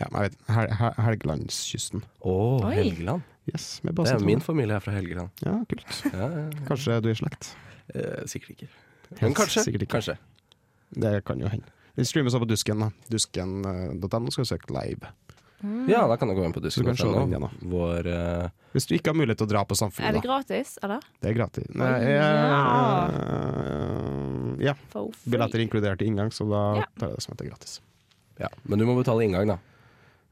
Speaker 6: Ja, men jeg vet, Hel Hel Helgelandskysten.
Speaker 2: Å,
Speaker 5: Oi.
Speaker 2: Helgeland.
Speaker 6: Yes, med
Speaker 2: Det
Speaker 6: basen
Speaker 2: er min familie er fra Helgeland.
Speaker 6: Ja, kult.
Speaker 2: Ja, ja.
Speaker 6: Kanskje du er i slekt?
Speaker 2: Eh, sikkert ikke. Men
Speaker 6: Helt
Speaker 2: kanskje.
Speaker 6: sikkert ikke.
Speaker 2: kanskje.
Speaker 6: Det kan jo hende. Den streames også på Dusken. eh, da. Dusken.no skal du søke live.
Speaker 2: Ja, da kan du gå inn på
Speaker 6: Så du kan se
Speaker 2: Dusken.no,
Speaker 6: den igjen, da.
Speaker 2: Vår eh,
Speaker 6: Hvis du ikke har mulighet til å dra på
Speaker 5: Er det
Speaker 6: Samfunnet, da.
Speaker 5: gratis, eller?
Speaker 6: Det er gratis. Nei,
Speaker 5: ja.
Speaker 6: eh, ja.
Speaker 5: For free.
Speaker 6: Billetter inkludert i inngang, så da
Speaker 5: Ja.
Speaker 6: tar jeg det som at det er gratis.
Speaker 2: ja. Men du må betale inngang, da.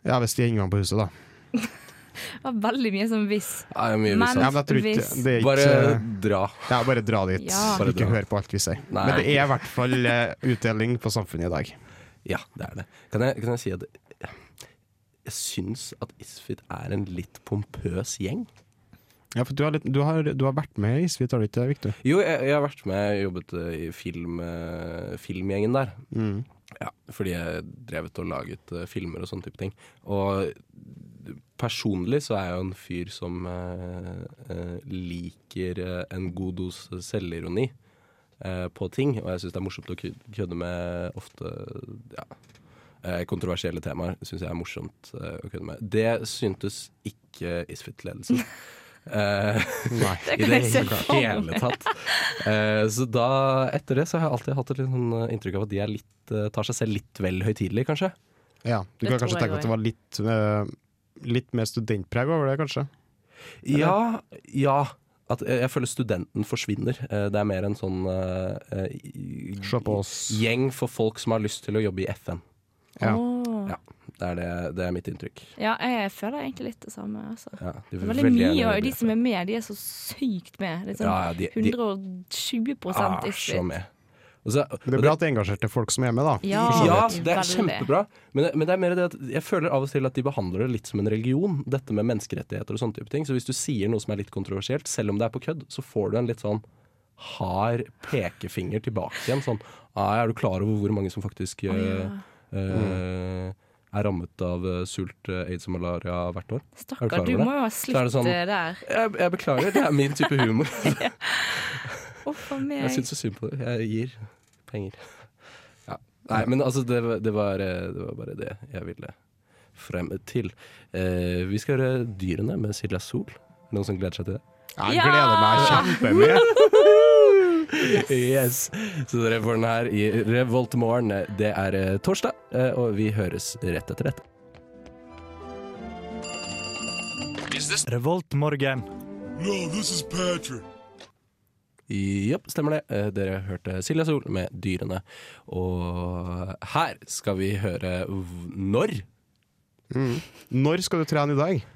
Speaker 6: Ja, hvis de har inngang på huset, da.
Speaker 5: Det var veldig mye som hvis.
Speaker 2: Ja, det er mye
Speaker 5: Men-
Speaker 2: visst.
Speaker 6: Ja, men jeg tror ikke
Speaker 5: Hvis-
Speaker 6: det er
Speaker 2: Bare
Speaker 6: ikke
Speaker 2: dra.
Speaker 6: ja, bare dra dit.
Speaker 5: Ja.
Speaker 2: Bare
Speaker 6: Ikke
Speaker 2: dra.
Speaker 6: hør på alt vi sier.
Speaker 2: Nei.
Speaker 6: Men det er i hvert fall eh, utdeling på Samfunnet i dag.
Speaker 2: Ja, det er det. Kan jeg, kan jeg si at jeg syns at Isfit er en litt pompøs gjeng.
Speaker 6: Ja, for du har, litt, du har, du har vært med i Isfit, har du ikke det, Victor?
Speaker 2: Jo, jeg, jeg har vært med, jeg jobbet eh, i film, eh, filmgjengen der.
Speaker 6: Mm.
Speaker 5: [laughs]
Speaker 2: Ja, fordi jeg drevet og laget eh, filmer og sånne type ting. Og personlig så er jeg jo en fyr som eh, eh, liker eh, en god dose selvironi eh, på ting. Og jeg syns det er morsomt å kø- kødde med ofte ja, eh, kontroversielle temaer. Syns jeg er morsomt eh, å kødde med. Det syntes ikke Isfit-ledelsen. Eh,
Speaker 6: Nei.
Speaker 5: Det
Speaker 2: i
Speaker 5: kan
Speaker 2: det
Speaker 5: jeg se for meg.
Speaker 2: hele tatt. Eh, så da, etter det, så har jeg alltid hatt et litt sånn eh, inntrykk av at de er litt, eh, tar seg selv litt vel høytidelig, kanskje.
Speaker 6: Ja, du
Speaker 5: Det
Speaker 6: kan
Speaker 5: tror
Speaker 6: kanskje
Speaker 5: jeg
Speaker 6: tenke at det var litt, eh, litt mer studentpreg over det, kanskje?
Speaker 2: Ja, ja. At eh, jeg føler studenten forsvinner. Eh, Det er mer en sånn eh, eh, i-
Speaker 6: Se på oss.
Speaker 2: gjeng for folk som har lyst til å jobbe i FN.
Speaker 6: Ja.
Speaker 5: Åh.
Speaker 2: Ja. Det er, det, det er mitt inntrykk.
Speaker 5: Ja, jeg føler egentlig litt det samme. Altså.
Speaker 2: Ja, de
Speaker 5: Det
Speaker 2: vil
Speaker 5: er veldig
Speaker 2: veldig gjerne
Speaker 5: mye,
Speaker 2: jobbe i
Speaker 5: og de som
Speaker 2: FN.
Speaker 5: er med, de er så sykt med. Det er
Speaker 2: Ja, ja,
Speaker 5: sånn
Speaker 2: de- de-
Speaker 5: 120
Speaker 2: Ah,
Speaker 5: isfit.
Speaker 2: så med. Og så,
Speaker 6: Det er bra at det er engasjerte folk som er med, da.
Speaker 5: Ja,
Speaker 2: Ja, det er
Speaker 5: veldig.
Speaker 2: kjempebra. Men, men det er mer det at jeg føler av og til at de behandler det litt som en religion, dette med menneskerettigheter og sånne type ting. Så hvis du sier noe som er litt kontroversielt, selv om det er på kødd, så får du en litt sånn hard pekefinger tilbake igjen. Sånn «Nei, Er du klar over hvor mange som faktisk eh, eh, er rammet av eh, sult, eh, aids og malaria hvert år? Er
Speaker 5: Stakkar,
Speaker 2: klar
Speaker 5: du
Speaker 2: over det?
Speaker 5: må jo ha
Speaker 2: Så er
Speaker 5: slitt
Speaker 2: det sånn-
Speaker 5: eh, der.
Speaker 2: Jeg, jeg beklager, det er min type humor.
Speaker 5: Uff a meg.
Speaker 2: Jeg sånn- syns så synd på det. Jeg gir [laughs] penger. Ja. Nei, men altså, det, var- det, var, eh, det var bare det jeg ville frem til. Eh, vi skal høre Dyrene med Silja Sol. Er det Noen som gleder seg til det?
Speaker 6: Jeg
Speaker 5: Ja!
Speaker 6: gleder meg kjempemye.
Speaker 2: [laughs] Yes. Så dere får den her i Revoltmorgen. Det er eh, torsdag, eh, og vi høres rett etter dette.
Speaker 1: Revoltmorgen.
Speaker 2: Jopp, stemmer det. Eh, Dere hørte Silja Sol med Dyrene. Og her skal vi høre v- når.
Speaker 6: Når skal du trene i dag?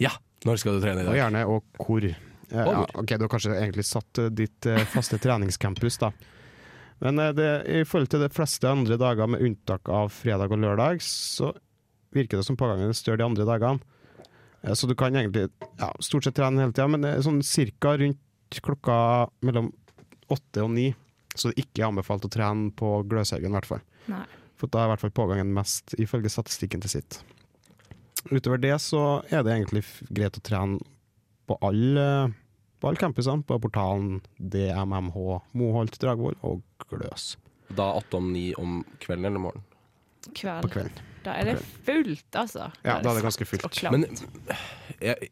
Speaker 2: Ja, når skal du trene i
Speaker 6: Og
Speaker 2: dag?
Speaker 6: gjerne og hvor. Eh, Ja,
Speaker 2: hvor.
Speaker 6: ok, Du har kanskje egentlig satt eh, ditt eh, faste treningscampus, da. Men eh, det, i forhold til de fleste andre dager, med unntak av fredag og lørdag, så virker det som pågangen er større de andre dagene. Eh, Så du kan egentlig ja, stort sett trene hele tida, men eh, sånn cirka rundt klokka mellom åtte og ni, så det er ikke anbefalt å trene på Gløshaugen, i hvert fall.
Speaker 5: Nei.
Speaker 6: For da er i hvert fall pågangen mest, ifølge statistikken til sitt. Utover det så er det egentlig f- greit å trene på alle på alle campusene, sånn, på portalen DMMH, Moholt, Dragvoll og Gløs
Speaker 2: Da åtte om ni om kvelden eller morgenen.
Speaker 5: Kveld.
Speaker 6: på kvelden.
Speaker 5: Da er det fullt, altså.
Speaker 6: Ja, da er det ganske
Speaker 5: fullt og
Speaker 6: fullt.
Speaker 5: klart.
Speaker 2: Men jeg,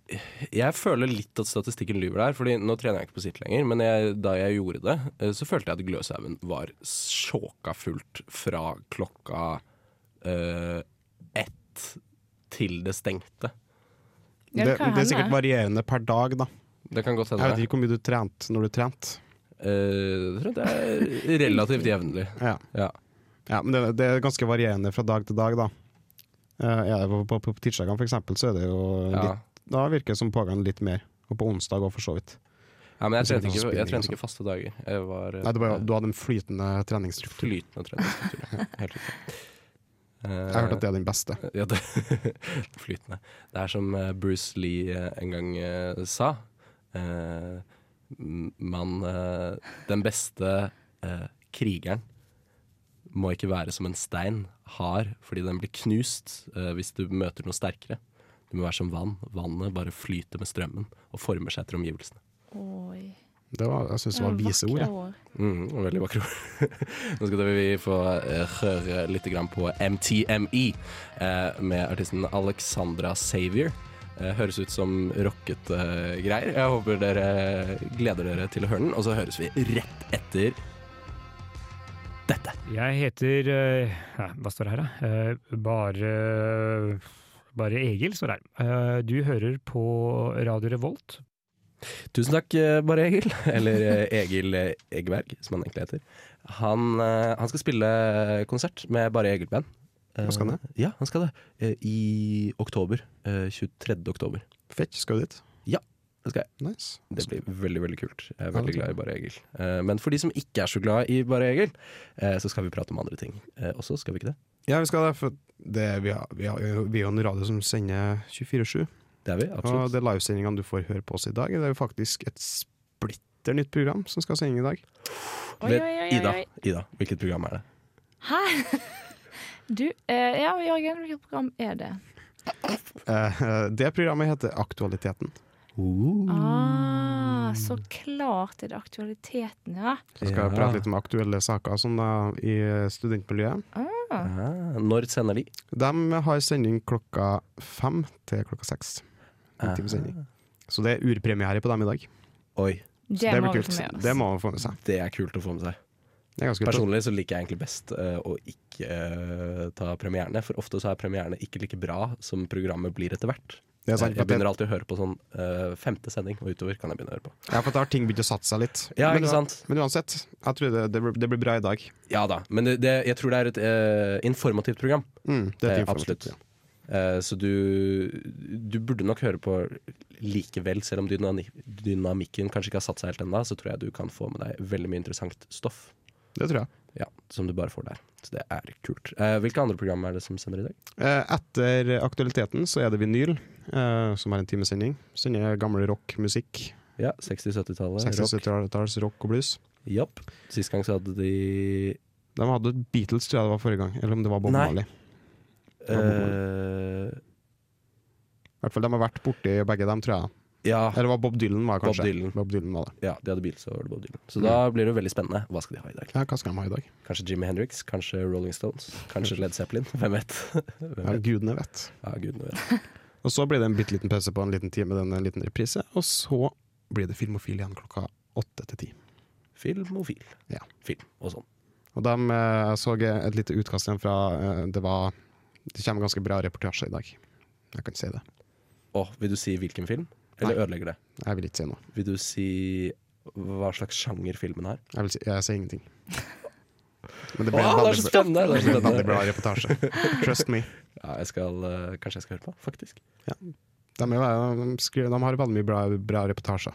Speaker 2: jeg føler litt at statistikken lyver der, Fordi nå trener jeg ikke på sitt lenger. Men jeg, da jeg gjorde det, eh, så følte jeg at Gløshaugen var sjåka fullt fra klokka eh, ett til det stengte.
Speaker 5: Ja,
Speaker 6: Det,
Speaker 5: det
Speaker 6: det
Speaker 5: kan
Speaker 6: er sikkert
Speaker 5: hende.
Speaker 6: varierende per dag, da.
Speaker 2: Det kan godt
Speaker 6: Jeg vet
Speaker 2: hende.
Speaker 6: ikke hvor mye du trente når du trente.
Speaker 2: Eh, jeg tror det er relativt jevnlig.
Speaker 6: Ja.
Speaker 2: Ja.
Speaker 6: Ja, men det, det er ganske varierende fra dag til dag, da. Eh, ja, på på, på tirsdagene for eksempel, så er det jo
Speaker 2: Ja.
Speaker 6: litt, Da virker det som pågangen litt mer. Og på onsdag òg, for så vidt.
Speaker 2: Ja, men jeg
Speaker 6: Det er
Speaker 2: trente
Speaker 6: sånn
Speaker 2: ikke, jeg
Speaker 6: spinning,
Speaker 2: trente
Speaker 6: altså.
Speaker 2: ikke faste dager. Jeg var eh,
Speaker 6: Nei, du, bare, du hadde en flytende treningsstruktur.
Speaker 2: flytende treningsstruktur. Helt riktig.
Speaker 6: [laughs] Jeg har hørt at det er den beste.
Speaker 2: Ja, det, [laughs] flytende. Det er som eh, Bruce Lee eh, en gang eh, sa. eh, m- man eh, Den beste eh, krigeren må ikke være som en stein hard, fordi den blir knust eh, hvis du møter noe sterkere. Du må være som vann. Vannet bare flyter med strømmen og former seg etter omgivelsene.
Speaker 5: Oi.
Speaker 6: Det var, jeg syns det var vise ord.
Speaker 5: Vakre
Speaker 6: jeg.
Speaker 2: Mm, veldig vakre ord. [laughs] Nå skal vi få eh, høre litt grann på MTME eh, med artisten Alexandra Savior. Eh, høres ut som rockete eh, greier. Jeg håper dere gleder dere til å høre den, og så høres vi rett etter dette.
Speaker 11: Jeg heter eh, ja, Hva står det her, da? Eh, Bare Bare Egil står det her. Eh, Du hører på Radio Revolt.
Speaker 2: Tusen takk, eh, Bare Egil. [laughs] Eller eh, Egil eh, Egeberg, som han egentlig heter. Han, eh, han skal spille konsert med Bare Egil-band.
Speaker 6: Hva skal han
Speaker 2: det? Ja, han skal det. Eh, I oktober. eh, 23. oktober.
Speaker 6: Fett, skal du dit?
Speaker 2: Ja, det skal jeg.
Speaker 6: Nice.
Speaker 2: Det blir veldig veldig kult. Jeg er veldig
Speaker 6: det tror
Speaker 2: glad i Bare Egil. Eh, Men for de som ikke er så glad i Bare Egil, eh, så skal vi prate om andre ting eh, også, skal vi ikke det?
Speaker 6: Ja, vi skal det. For det, vi, har, vi, har, jo- vi er jo en radio som sender 24-7.
Speaker 2: Det er vi,
Speaker 6: Og
Speaker 2: absolutt.
Speaker 6: det livesendingene du får høre på oss i dag, det er jo faktisk et splitter nytt program som skal sende i dag.
Speaker 5: Oi, oi,
Speaker 2: Vet-
Speaker 5: oi, oi,
Speaker 2: Ida,
Speaker 5: oi.
Speaker 2: Ida, hvilket program er det?
Speaker 5: Hæ? [laughs] Du, eh, ja, Jørgen, hvilket program er det?
Speaker 6: Eh, det programmet heter Aktualiteten. Uh.
Speaker 5: Ah, så klart er det aktualiteten, ja.
Speaker 6: Mm. Så skal jeg
Speaker 2: Ja.
Speaker 6: prate litt om aktuelle saker sånn, da, i studentmiljøet.
Speaker 2: Ah, når sender de?
Speaker 6: De har sending klokka fem til klokka seks. En time sending. Så det er urpremiere på dem i dag.
Speaker 2: Oi,
Speaker 5: Det,
Speaker 6: Så det,
Speaker 5: må
Speaker 6: blir
Speaker 5: vi
Speaker 6: kult.
Speaker 5: få med oss.
Speaker 6: Det må man få med seg.
Speaker 2: det er kult å få med seg.
Speaker 6: Det er ganske kult.
Speaker 2: Personlig så liker jeg egentlig best eh, å ikke eh, ta premierene, for ofte så er premierene ikke like bra som programmet blir etter hvert.
Speaker 6: Det er sant,
Speaker 2: Eh,
Speaker 6: for
Speaker 2: jeg begynner
Speaker 6: det-
Speaker 2: alltid å høre på sånn eh, femte sending og utover kan jeg begynne å høre på.
Speaker 6: Ja, for da har ting begynt å satse seg litt.
Speaker 2: Ja,
Speaker 6: men,
Speaker 2: ikke sant?
Speaker 6: men uansett, jeg tror det, det, blir- det blir bra i dag.
Speaker 2: Ja da, men det, det, jeg tror det er et eh, informativt program.
Speaker 6: Mm, det er
Speaker 2: Eh,
Speaker 6: et informativt.
Speaker 2: absolutt. Eh, så du, du burde nok høre på likevel, selv om dynami dynamikken kanskje ikke har satt seg helt ennå, så tror jeg du kan få med deg veldig mye interessant stoff.
Speaker 6: Det tror jeg.
Speaker 2: Ja, Som du bare får der. Så det er kult. Eh, hvilke andre program er det som sender i dag?
Speaker 6: Eh, Etter aktualiteten så er det vinyl, eh, som har en timesending. Sender gamle rockmusikk.
Speaker 2: Ja, 60-70-tallet. Rock.
Speaker 6: 60-70-talls rock og blues.
Speaker 2: Japp. Sist gang så hadde de
Speaker 6: De hadde Beatles, tror jeg det var forrige gang. Eller om det var Bob
Speaker 2: Nei.
Speaker 6: Marley.
Speaker 2: eh,
Speaker 6: I hvert fall de har vært borti begge dem, tror jeg.
Speaker 2: Ja.
Speaker 6: Eller var Bob Dylan var
Speaker 2: Ah.
Speaker 6: det
Speaker 2: Bob
Speaker 6: kanskje?
Speaker 2: Dylan.
Speaker 6: Bob Dylan var det.
Speaker 2: Ja, de hadde bil, så var det Bob Dylan. Så da blir det jo veldig spennende. Hva skal de ha i dag?
Speaker 6: Ja, hva skal de ha i dag?
Speaker 2: Kanskje Jimmy Hendrix, kanskje Rolling Stones, kanskje Led Zeppelin. [laughs] Hvem vet? Hvem
Speaker 6: Ja,
Speaker 2: vet?
Speaker 6: gudene vet.
Speaker 2: Ja, gudene vet.
Speaker 6: Og så blir det en bitte liten pause på en liten time, den en liten reprise. Og så blir det Filmofil igjen klokka åtte til ti.
Speaker 2: Filmofil.
Speaker 6: Ja.
Speaker 2: Film og sånn.
Speaker 6: Og de eh, så jeg et lite utkast igjen fra eh, Det var Det kommer ganske bra reportasje i dag. Jeg kan si det.
Speaker 2: Og vil du si hvilken film? Eller
Speaker 6: Nei.
Speaker 2: ødelegger det?
Speaker 6: Jeg vil ikke si noe.
Speaker 2: Vil du si hva slags sjanger filmen har?
Speaker 6: Jeg, vil si, jeg sier ingenting. Men det
Speaker 2: Åh, det er så
Speaker 6: bra-
Speaker 2: spennende! Det
Speaker 6: det
Speaker 2: er
Speaker 6: ble
Speaker 2: så
Speaker 6: en veldig bra
Speaker 2: spennende.
Speaker 6: reportasje. Trust me.
Speaker 2: Ja, jeg skal, eh, kanskje jeg skal høre på, faktisk.
Speaker 6: De, er, jo- de, skriver, de har veldig mye bra, bra reportasje.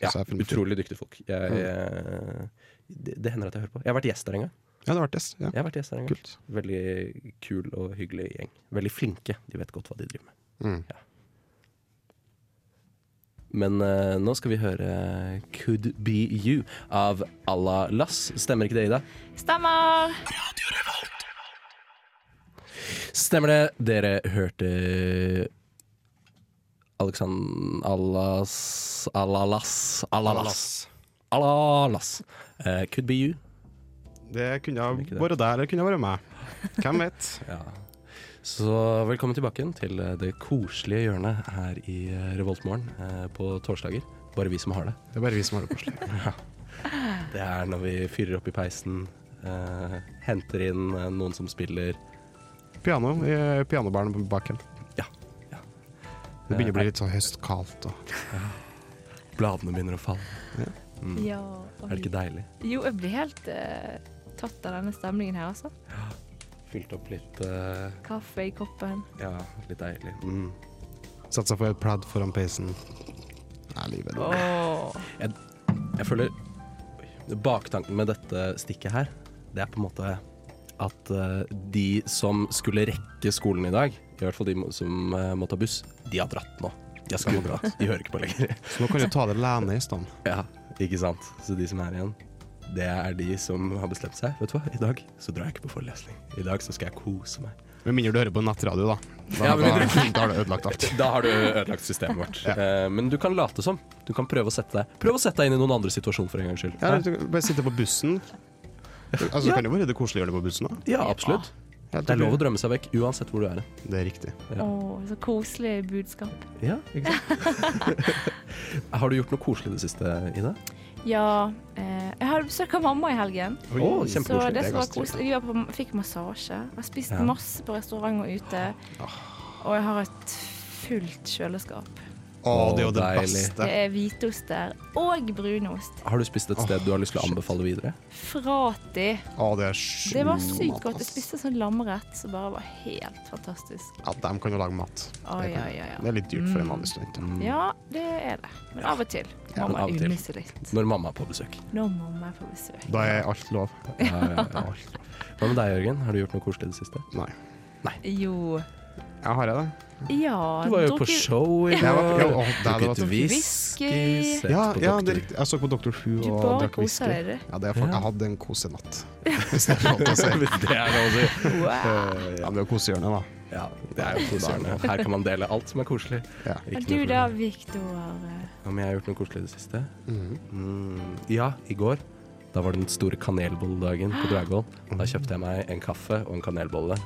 Speaker 2: Ja,
Speaker 6: Så jeg Mm. finner-
Speaker 2: Utrolig dyktige folk. Jeg, eh, det, det hender at jeg hører på. Jeg har vært gjest der en gang.
Speaker 6: Ja, det har vært det. Ja.
Speaker 2: Jeg har vært gjest der en gang.
Speaker 6: Kult.
Speaker 2: Veldig kul og hyggelig gjeng. Veldig flinke. De vet godt hva de driver med.
Speaker 6: Mm.
Speaker 2: Men eh, nå skal vi høre 'Could Be You' av Alla Lass. Stemmer ikke det, Ida?
Speaker 5: Stemmer!
Speaker 2: Stemmer det. Dere hørte Alexand... Allas Alalas Alalas. Alalas. Eh, could be you.
Speaker 6: Det kunne ha
Speaker 2: Ikke det.
Speaker 6: vært der, eller kunne ha vært meg. Hvem vet?
Speaker 2: Ja. Så velkommen tilbake igjen til eh, det koselige hjørnet her i eh, Revoltmorgen eh, på torsdager. Bare vi som har det.
Speaker 6: Det er bare vi som har det koselig.
Speaker 2: Det er når vi fyrer opp i peisen, eh, henter inn eh, noen som spiller
Speaker 6: Piano i pianobaren bak her.
Speaker 2: Ja, ja. Eh,
Speaker 6: Det begynner å bli litt sånn høstkaldt. Og.
Speaker 2: Bladene begynner å falle.
Speaker 5: Ja,
Speaker 2: Er det ikke deilig?
Speaker 5: Jo, jeg blir helt eh, tatt av denne stemningen her, altså.
Speaker 2: Fylt opp litt eh,
Speaker 5: Kaffe i koppen.
Speaker 2: Ja, litt deilig. Mm.
Speaker 6: Satsa på et pladd foran peisen. Nei, livet er dårlig.
Speaker 5: Åh.
Speaker 2: Jeg føler Baktanken med dette stikket her, det er på en måte at eh, de som skulle rekke skolen i dag, i hvert fall de må- som eh, må ta buss, de har dratt nå. De har skummet. De hører ikke på lenger. [laughs]
Speaker 6: Så nå kan du ta det lene i stand.
Speaker 2: Ja, ikke sant. Så de som er igjen, det er de som har bestemt seg. Vet du hva, i dag så drar jeg ikke på forelesning. I dag så skal jeg kose meg.
Speaker 6: Med mindre du hører på nattradio, da. Da,
Speaker 2: Ja, men
Speaker 6: da,
Speaker 2: mindre-
Speaker 6: da har du ødelagt alt.
Speaker 2: [laughs] Da har du ødelagt systemet vårt. Eh, men du kan late som. Du kan prøve å sette deg Prøv å sette deg inn i noen andre situasjon for en gangs skyld.
Speaker 6: Ja, du kan bare sitte på bussen. Altså,
Speaker 2: Ja.
Speaker 6: Kan det være det koselig å gjøre det på bussen òg?
Speaker 2: Ja, absolutt. Det er lov å drømme seg vekk uansett hvor du er.
Speaker 6: Det er riktig.
Speaker 2: Ja.
Speaker 5: Åh, så koselig budskap.
Speaker 2: Ja, ikke sant? [laughs] har du gjort noe koselig i det siste, Ida?
Speaker 5: Ja, eh, jeg hadde besøk av mamma i helgen.
Speaker 2: Å,
Speaker 5: Så
Speaker 2: kjempekoselig.
Speaker 5: det
Speaker 6: Det er
Speaker 5: som var
Speaker 6: ganske
Speaker 5: koselig Vi var på, fikk massasje. Jeg har spist
Speaker 2: Ja. Ah.
Speaker 5: masse på restaurant og ute. Og jeg har et fullt kjøleskap.
Speaker 6: Å, det er jo det
Speaker 2: Deilig.
Speaker 5: Det
Speaker 6: beste.
Speaker 5: er hvitost der. Og brunost.
Speaker 2: Har du spist et sted du har lyst til å anbefale videre?
Speaker 5: Frati.
Speaker 6: Å, det er sjukt.
Speaker 5: Det var sykt godt. Jeg spiste sånn lammerett som bare var helt
Speaker 2: Mm.
Speaker 5: fantastisk.
Speaker 6: Ja, de kan jo lage mat.
Speaker 5: Oi,
Speaker 6: det, kan-
Speaker 5: oi, oi, oi.
Speaker 6: det er litt dyrt for en vanlig student. da.
Speaker 5: Mm. Ja, det er det. Men av og til må
Speaker 2: men av
Speaker 5: man
Speaker 2: og til.
Speaker 5: unne seg litt.
Speaker 2: Når mamma er på besøk.
Speaker 5: Nå må man få besøk.
Speaker 6: Da er alt lov.
Speaker 2: Ja, ja, ja. Hva med deg, Jørgen? Har du gjort noe koselig i det siste?
Speaker 6: Nei.
Speaker 5: Jo.
Speaker 6: Ja, har jeg det?
Speaker 5: Ja.
Speaker 2: Du var jo på
Speaker 5: drukket-
Speaker 2: show i
Speaker 6: Jeg var,
Speaker 2: går.
Speaker 6: jo, å, det hadde
Speaker 2: Drukket
Speaker 6: vært
Speaker 5: Whisky.
Speaker 2: whisky, sett
Speaker 6: ja,
Speaker 2: på
Speaker 6: ja, det er
Speaker 2: doktor.
Speaker 6: riktig. Jeg så på Dr. Who
Speaker 5: Du
Speaker 6: og
Speaker 5: bare
Speaker 6: drakk whisky.
Speaker 5: koser deg, du.
Speaker 6: Ja, det er for,
Speaker 2: Ja.
Speaker 6: jeg hadde en kosenatt. Hvis det er lov til å si.
Speaker 2: [laughs] Det er lov å si.
Speaker 5: Wow.
Speaker 2: [laughs]
Speaker 6: Ja, men det er jo kosehjørnet, da.
Speaker 2: Ja, det er jo koselig. Her kan man dele alt som er koselig.
Speaker 6: Ja.
Speaker 5: Men
Speaker 2: Ikke
Speaker 5: du
Speaker 2: noe
Speaker 5: da,
Speaker 2: problem.
Speaker 5: Victor.
Speaker 2: Om jeg har gjort noe koselig i det siste? Mm, ja, i går. Da var det den store kanelbolledagen på Dragvoll. Da kjøpte jeg meg en kaffe og en kanelbolle.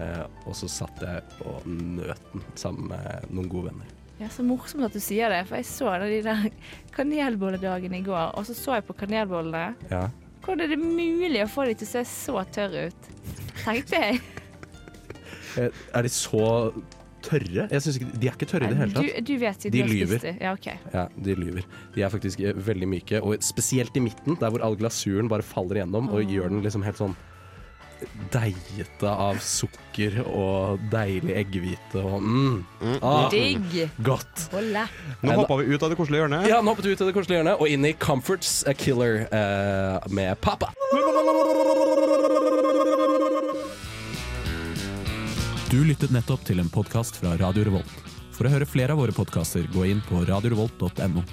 Speaker 2: Eh, og så satt jeg og nøt den sammen med noen gode venner.
Speaker 5: Ja, Så morsomt at du sier det, for jeg så en av de der kanelbolledagene i går, og så så jeg på kanelbollene.
Speaker 2: Ja.
Speaker 5: Hvordan er det mulig å få de til å se så tørre ut? Tenkte jeg.
Speaker 2: Eh, er de så tørre? Jeg synes ikke, De er ikke tørre i det hele
Speaker 5: Du,
Speaker 2: tatt.
Speaker 5: du vet siden
Speaker 2: De
Speaker 5: du har
Speaker 2: lyver.
Speaker 5: spist dem. Ja, ok.
Speaker 2: Ja, De lyver. De er faktisk eh, veldig myke, og spesielt i midten, der hvor all glasuren bare faller igjennom og gjør den liksom helt sånn deigete av sukker og deilig eggehvite og mm. Ah,
Speaker 5: Digg.
Speaker 2: godt.
Speaker 5: Bolle.
Speaker 6: Nå hoppa vi ut av det koselige hjørnet.
Speaker 2: Ja, nå hoppet vi ut av det koselige hjørnet og inn i Comforts a Killer eh, med Papa.
Speaker 12: Du lyttet nettopp til en podkast fra Radio Revolt. For å høre flere av våre podkaster, gå inn på radiorevolt.no.